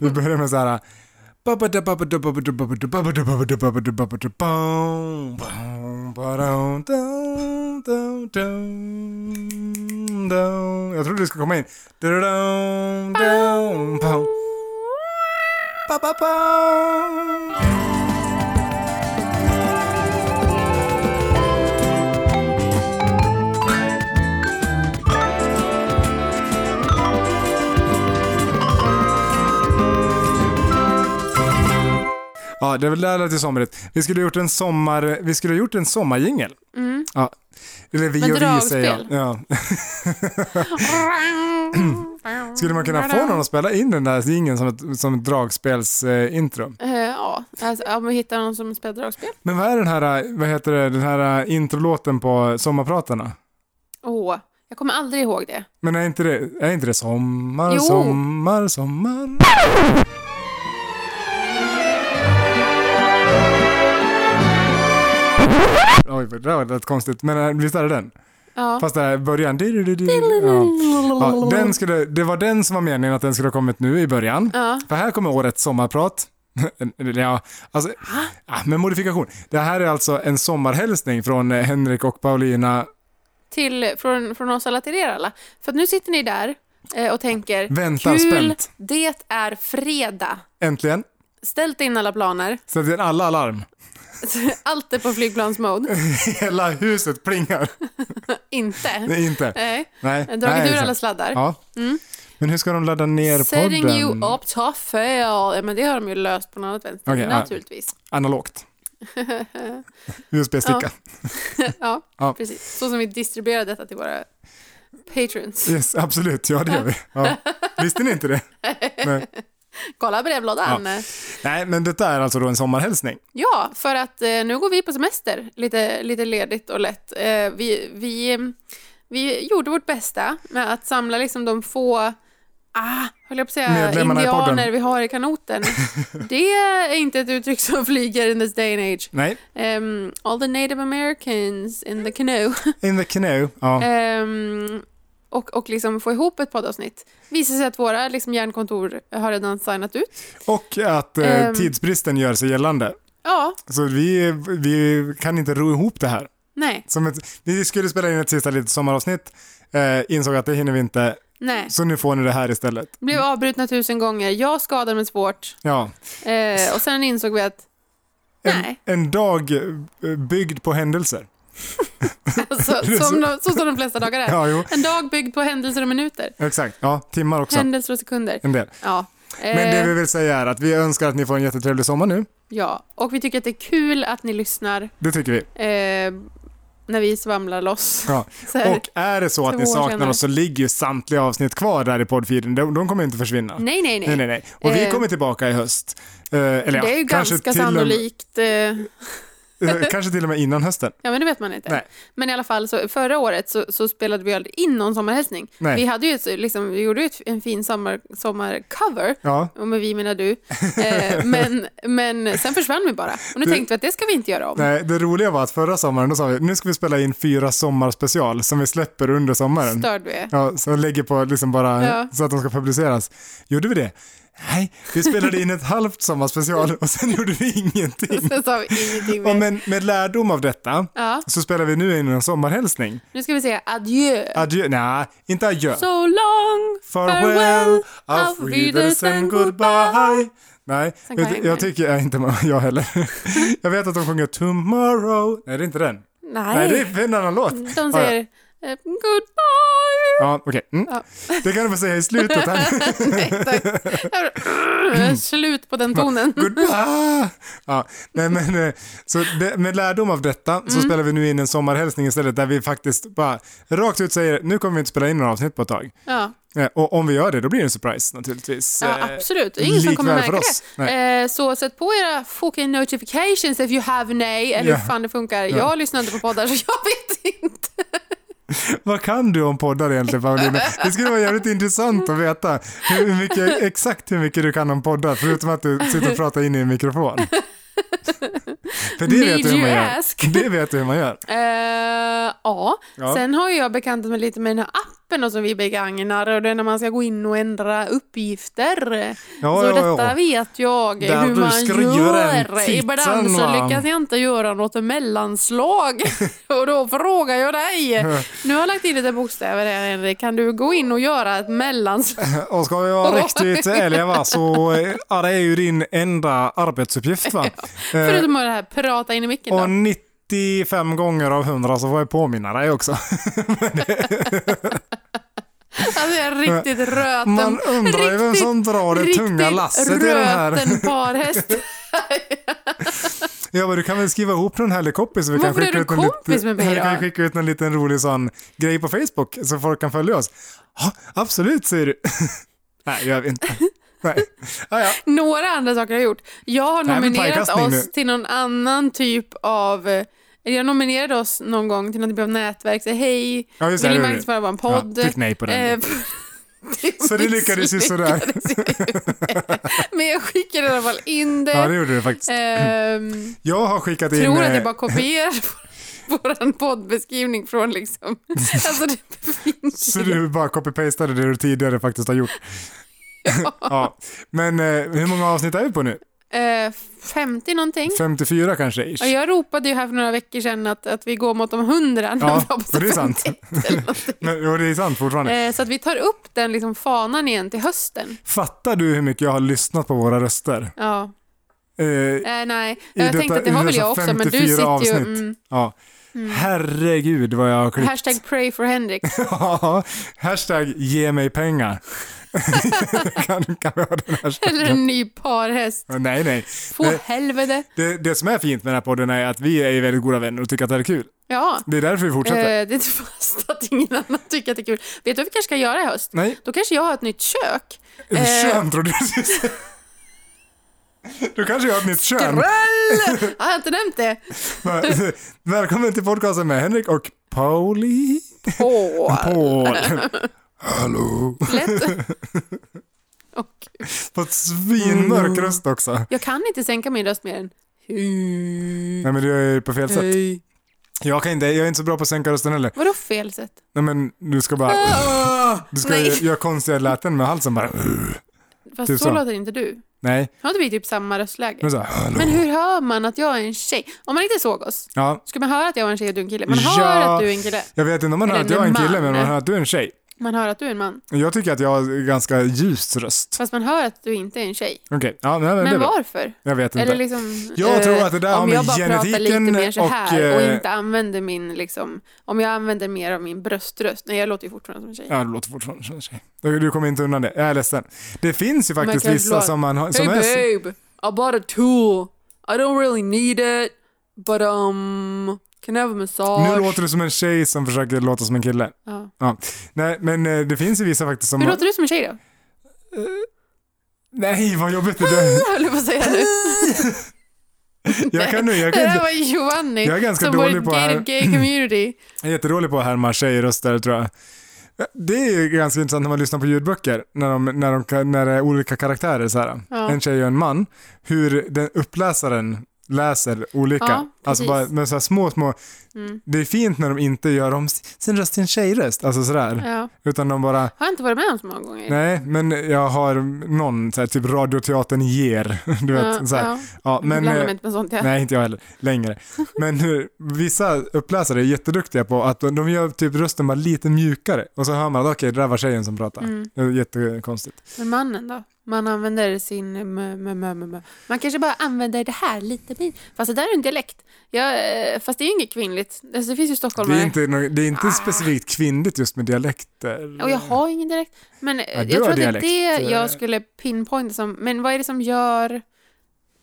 Vi börjar med så här... Jag trodde det skulle komma in. Ja, det där lät ju somrigt. Vi skulle ha gjort en sommar... Vi skulle ha gjort en sommarjingel. Mm. Ja. Eller vi Med och vi säger jag. dragspel. Ja. Skulle man Mm, kunna få någon att spela in den där jingeln som ett, som ett dragspelsintro? Eh, Ja, alltså, om vi hittar någon som spelar dragspel. Men vad är den här, eh, vad heter det, den här eh, introlåten på Sommarpratarna? Åh, jag kommer aldrig ihåg det. Men är inte det, är inte det sommar, Jo. sommar, sommar? Oj, det där var lite konstigt. Men eh, visst är det den? Ja. Fast det här i början. du-du-du-du. Ja. Ja, den skulle, det var den som var meningen att den skulle ha kommit nu i början. Ja. För här kommer årets sommarprat. Eller, ja, alltså, ja, med modifikation. Det här är alltså en sommarhälsning från eh, Henrik och Paulina. Till, från, från oss alla till er alla. För att nu sitter ni där eh, och tänker, Väntar kul, spänt." det är fredag. Äntligen. Ställt in alla planer. Så det är alla alarm. Allt är på flygplansmode. Hela huset plingar. Inte. Nej, inte. Nej. Nej. Jag har nej, Dragit ur exakt. alla sladdar. Ja. Men hur ska de ladda ner Setting podden? you up to fail. Ja, men det har de ju löst på något annat vänster. Okej, ja. Naturligvis. Analogt. USB-sticka. Ja, Ja. precis. Så som vi distribuerar detta till våra patrons. Yes, absolut. Ja, det gör vi. Ja. Visste ni inte det? Kolla brevlådan. Ja. Nej, men detta är alltså då en sommarhälsning. Ja, för att eh, nu går vi på semester. Lite, lite ledigt och lätt. Eh, vi, vi, eh, vi gjorde vårt bästa med att samla liksom de få Ah, höll jag på att säga, Medlemmarna i indianer podden. vi har i kanoten. Det är inte ett uttryck som flyger in this day and age. Nej, Ehm, all the native americans in the canoe. in the canoe. Ja. Ehm, och, och liksom få ihop ett poddavsnitt. Visar sig att våra liksom, hjärnkontor har redan signat ut. Och att eh, Ehm. tidsbristen gör sig gällande. Ja, Så vi, vi kan inte ro ihop det här. nej, Som ett, vi skulle spela in ett sista litet sommaravsnitt, eh, insåg att det hinner vi inte, nej. så nu får ni det här istället. Blev avbrutna tusen gånger, jag skadade mig svårt. Ja. Eh, och sen insåg vi att En, Nej. en dag eh, byggd på händelser. alltså, som, de, så som de flesta dagar är. Ja, jo, En dag byggd på händelser och minuter. exakt. Ja, timmar också. Händelser och sekunder. En del. Ja. Eh, Men det vi vill säga är att vi önskar att ni får en jättetrevlig sommar nu. ja. Och vi tycker att det är kul att ni lyssnar Det tycker vi. eh, när vi svamlar loss. Ja. Så här. Och är det så att Två ni år saknar senare. oss så ligger ju samtliga avsnitt kvar där i poddfeeden. De, de kommer inte försvinna. nej, nej, nej. Nej, nej, nej. Och vi Eh, kommer tillbaka i höst. Eh, eller ja, det är ju kanske ganska till och- sannolikt. Eh, eh, kanske till och med innan hösten. Ja, men det vet man inte. Nej. Men i alla fall, så förra året så, så spelade vi aldrig in någon sommarhälsning. Nej. Vi, hade ju ett, liksom, vi gjorde ju ett, en fin sommar, sommarcover, Ja, och med vi menar du, eh, men, men sen försvann vi bara. Och nu Du- tänkte vi att det ska vi inte göra om. nej, det roliga var att förra sommaren då sa vi nu ska vi spela in fyra sommarspecial som vi släpper under sommaren. Störd vi är. Ja, så jag lägger på liksom bara Ja. så att de ska publiceras. Gjorde vi det? Nej, vi spelade in ett halvt sommarspecial och sen gjorde vi ingenting. Sen sa vi ingenting Och mer. men, med lärdom av detta Ja, så spelar vi nu in en sommarhälsning. nu ska vi säga adjö. Adjö, nej, inte adjö. So long! Farewell, auf Wiedersehen, goodbye. Nej, Sen kan jag jag, inte. jag tycker jag inte med- jag heller. jag vet att de sjunger tomorrow. Nej, det är inte den. Nej, Nej, Mm. det är en annan låt. de Ja, ja. säger eh, goodbye. Ja, okej. Mm. Ja. Det kan du få säga i slutet här. Exakt. Slut på den tonen. Goodbye! Ja, nej, men, eh, så det, med lärdom av detta så spelar vi nu in en sommarhälsning istället där vi faktiskt bara rakt ut säger nu kommer vi inte spela in några avsnitt på ett tag. Ja. Eh, Och om vi gör det då blir det en surprise naturligtvis. Ja, Eh, absolut. Det är ingen som kommer likväl märka för oss. det. Eh, så sätt på era fucking notifications if you have nay, eller Ja. hur fan det funkar. Ja. Jag lyssnar inte på poddar så jag vet inte. Vad kan du om poddar egentligen Paulina? Det skulle vara jävligt intressant att veta hur mycket, exakt hur mycket du kan om poddar förutom att du sitter och pratar in i en mikrofon. För det vet Need du hur you man gör. ask? Det vet du hur man gör. Eh, ja. Ja. sen har ju jag bekantat mig lite med den här appen då som vi begagnar och det är när man ska gå in och ändra uppgifter. Ja, så ja, detta ja. vet jag Där hur du man skriver den gör. Ibland titeln, så va? lyckas jag inte göra något mellanslag och då frågar jag dig. Nu har jag lagt in lite bokstäver här Henrik, kan du gå in och göra ett mellanslag? Och ska vi vara riktigt ärliga va, så eh, ja, det är ju din enda arbetsuppgift va. Eh, Förutom att det här prata in i micken och då. 95 gånger av 100 så får jag påminna dig också. Alltså jag är riktigt röten. Man undrar ju vem som drar det tunga riktigt lasset i den här. röten parhäst. Ja, men du kan väl skriva ihop den här kompis så vi kan Varför är skicka du ut en liten- kompis med mig vi kan då? skicka ut en liten rolig sån grej på Facebook så folk kan följa oss. Ja, absolut säger du. Nej, gör vi inte. Nej. Ja, ja. Några andra saker jag har gjort. Jag har Det här blir nominerat pajkastning oss nu. till någon annan typ av... eh, Jag nominerade oss någon gång till någon typ av nätverk. Så, Hej, Ja, just det, det vill ni är det. marknadsföra vår podd? Ja, fick nej på den. Eh, Så det lyckades ju sådär. Men jag skickade i alla fall in det. Ja, det gjorde du faktiskt. Ehm, Jag har skickat in... Eh, tror att eh, jag bara kopierar vår poddbeskrivning från liksom... Alltså det finns Så ju. du bara copy-pastade det du tidigare faktiskt har gjort. Ja. Men eh, hur många avsnitt är vi på nu? Eh, 50 någonting. 54 kanske? Ish. Ja, jag ropade ju här för några veckor sedan att, att vi går mot de 100 Ja, när vi var på och det är sant. 51 eller någonting. Men, jo, det är sant fortfarande. Eh, Så att vi tar upp den liksom fanan igen till hösten. Fattar du hur mycket jag har lyssnat på våra röster? Ja. Eh, Eh, nej, I jag tänkte detta- att det har i väl dessa jag också, men du 54 sitter ju... avsnitt. Mm, Ja. Herregud vad jag har klippt. hashtag pray for Henrik. Ja, Hashtag ge mig pengar. kan, kan vi ha den Eller hashtaggen? en ny parhäst. Nej, nej. Få Nej. helvete. Det, det som är fint med den här podden är att vi är ju väldigt goda vänner och tycker att det är kul. Ja. Det är därför vi Eh, fortsätter. det är inte fast att ingen annan tycker att det är kul. Vet du vad vi kanske ska göra i höst? Nej, Då kanske jag har ett nytt kök. eh, eh, kön tror du Du kanske har ett nytt kön. Skräll! Har jag inte nämnt det? Välkommen till podcasten med Henrik och Pauli. Åh, Paul. Hallå. lätt. Åh, Gud. På ett Mm. svinmörk röst också. jag kan inte sänka min röst mer än... Hej. Nej men du är ju på fel sätt. Hej. Jag kan inte, jag är inte så bra på att sänka rösten heller. Vadå fel sätt? Nej men du ska bara... Du ska Ah! Nej. ju göra konstiga läten med halsen bara. Fast Typ så, så. låter inte du. Nej, Har inte vi typ samma röstläge? men så här, hallå. Men hur hör man att jag är en tjej? Om man inte såg oss, Ja, skulle man höra att jag var en tjej och du en kille? Man Ja. hör att du är en kille. jag vet inte om man hör Eller att jag är en en kille men man. man hör att du är en tjej. Man hör att du är en man. Jag tycker att jag har ganska ljus röst. Fast man hör att du inte är en tjej. Okej, ja nej, men det är Men bra. varför? Jag vet Eller inte. liksom, Jag eh, tror att det där har om med jag bara pratar lite genetiken mer så och, här och, eh, inte använder min, liksom, om jag använder mer av min bröströst. Nej, jag låter ju fortfarande som en tjej. Ja, du låter fortfarande som en tjej. Du du kommer inte undan det. Jag är ledsen. Det finns ju faktiskt kan ju vissa låta- som man har... Som är, hey babe, I bought a tool. I don't really need it, but um, can I have a massage? nu låter du som en tjej som försöker låta som en kille. Ja. Ja. Nej, men eh, det finns ju vissa faktiskt som... Hur låter du som en tjej då? Nej, vad jobbigt det där. Jag höll på att säga nu. Jag kan nu, jag Det kan här inte... var Giovanni Jag är ganska som var i dålig på det här. gay, gay community. Jag är jättedålig på att härma tjejröster tror jag. Det är ju ganska intressant när man lyssnar på ljudböcker, när, de, när, de, kan- när det är olika karaktärer, så här. Ja. en tjej och en man, hur den uppläsaren läser olika. Ja, alltså precis. Mm. bara med så här små, små, det är fint när de inte gör om s- sin röst till en tjejröst, alltså sådär. Ja. Utan de bara, Har jag inte varit med om så många gånger. nej, men jag har någon, så här, typ radioteatern ger, du vet. ja, så här. Ja. ja. men, Blandar eh, mig inte med sånt. Ja. Nej, inte jag heller. Längre. Men hur, vissa uppläsare är jätteduktiga på att de de gör typ rösten bara lite mjukare och så hör man att okej, det där var tjejen som pratade. Mm. Det är jättekonstigt. Men mannen då? Man använder sin... eh, mö, mö, mö, mö, mö. Man kanske bara använder det här lite mer. Fast det där är en dialekt. Jag, eh, fast det är ju inget kvinnligt. Alltså, det finns ju Det stockholmare. är inte, nå- det är inte specifikt kvinnligt just med dialekter. Ah. Och jag har ingen dialekt. Men eh, du jag har tror att det är dialekt. det Eh. jag skulle pinpointa som. Men vad är det som gör...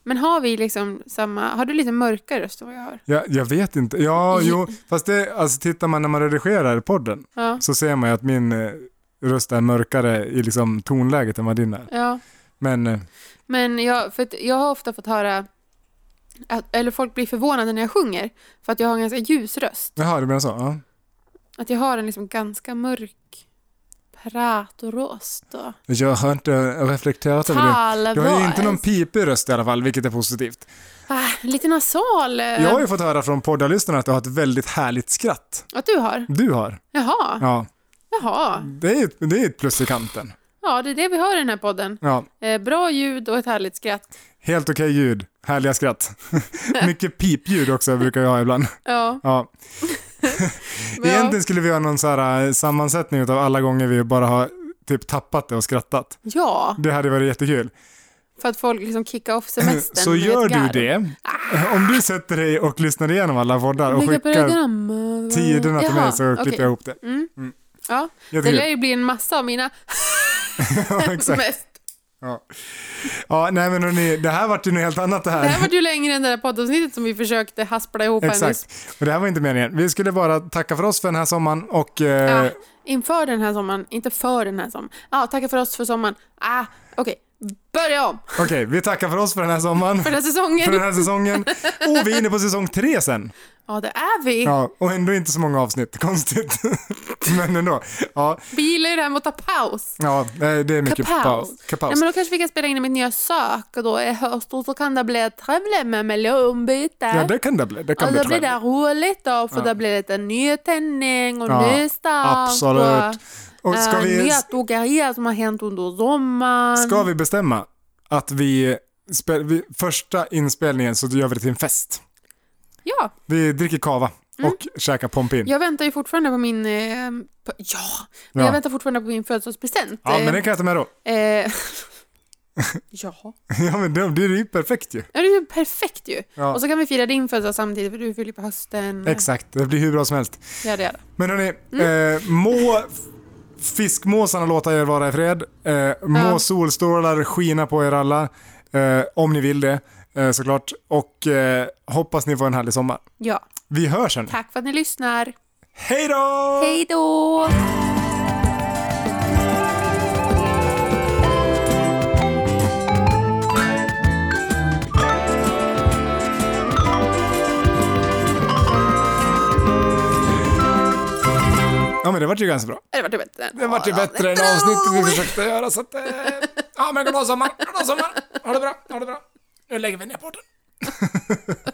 Men har vi liksom samma... Har du lite mörkare röst än vad jag har? Jag, jag vet inte. Ja, I- jo, fast det, alltså tittar man när man redigerar podden Ja. så ser man ju att min eh, röst är mörkare i liksom tonläget än vad din är. ja. Men eh, Men jag, för att jag har ofta fått höra, att, eller folk blir förvånade när jag sjunger, för att jag har en ganska ljus röst. jaha, du menar så? Ja. Att jag har en liksom ganska mörk pratoröst. och Jag har inte reflekterat över det. Du har ju inte någon pipig röst i alla fall, vilket är positivt. ah, Lite nasal. eh, Jag har ju fått höra från poddarlyssnarna att du har ett väldigt härligt skratt. Att du har. Du har. Jaha. Ja. Jaha, Det är, ett- det är ett plus i kanten. ja det är det vi har i den här podden. Ja, Eh, bra ljud och ett härligt skratt. helt okej ljud, härliga skratt. Mycket pipljud också brukar jag ha ibland. Ja, Ja. men ja. Egentligen skulle vi göra någon så här eh, sammansättning av alla gånger vi bara har typ tappat det och skrattat. ja, Det hade varit jättekul. för att folk liksom kickar off semestern. Så med ett gör du garv. det, Ah. om du sätter dig och lyssnar igenom alla poddar och Vilka skickar program? tiderna till mig Jaha, så klipper okej. jag ihop det. Mm. Mm. Ja, det lär Jättekul. ju bli en massa av mina ja, exakt. mest. Ja. ja, nej men hörni, det här vart ju något helt annat det här. Det här var ju längre än det där poddavsnittet som vi försökte haspla ihop här nyss. Exakt. Och det här var inte meningen. Vi skulle bara tacka för oss för den här sommaren och eh, Ah, inför den här sommaren, inte för den här sommaren. Ja, ah, tacka för oss för sommaren. Ah, Okej, börja om okej, vi tackar för oss för den här sommaren. för den här säsongen. För den här säsongen. Och vi är inne på säsong tre sen. Ja, det är vi. Ja, och ändå inte så många avsnitt. Konstigt. Men ändå. Ja, Vi gillar ju det här med att ta paus. ja eh, det är mycket Kapaus. paus. Ja, Kapaus. men då kanske vi kan spela in i mitt nya sök och då i höst och så kan det bli trevligt med melonbyte. Ja, det kan det bli. Det kan och bli då blir det trevligt. roligt då för Ja. det blir lite nytändning och Ja, nystart. Absolut. Och Och, ska eh, vi, Nya tokerier som har hänt under sommaren. ska vi bestämma att vi, spel, vi, första inspelningen så gör vi det till en fest. Ja, Vi dricker kava och Mm. käkar pompin. jag väntar ju fortfarande på min... Eh, på, ja, men Ja. jag väntar fortfarande på min födelsedagspresent. Ja, men det kan jag ta med då. eh, ja. Ja, men det, det är ju perfekt ju. Ja, det är ju perfekt ju. Ja. Och så kan vi fira din födelsedag samtidigt för du fyller på hösten. Exakt, det blir hur bra som helst. Ja, det är det. Men hörni, Mm. eh, må f- fiskmåsarna låta er vara i fred. Eh, må Ja. solstrålar skina på er alla, eh, om ni vill det eh, såklart. Och eh, hoppas ni får en härlig sommar. Ja. Vi hörs hörni. Tack för att ni lyssnar. Hej då! Hej då! Ja men det vart ju ganska bra. Det vart ju bättre. Det vart ju bättre än avsnittet vi försökte göra så att... Eh, ja men glad sommar, glad sommar! Ha det bra, ha det bra. Nu lägger vi ner podden.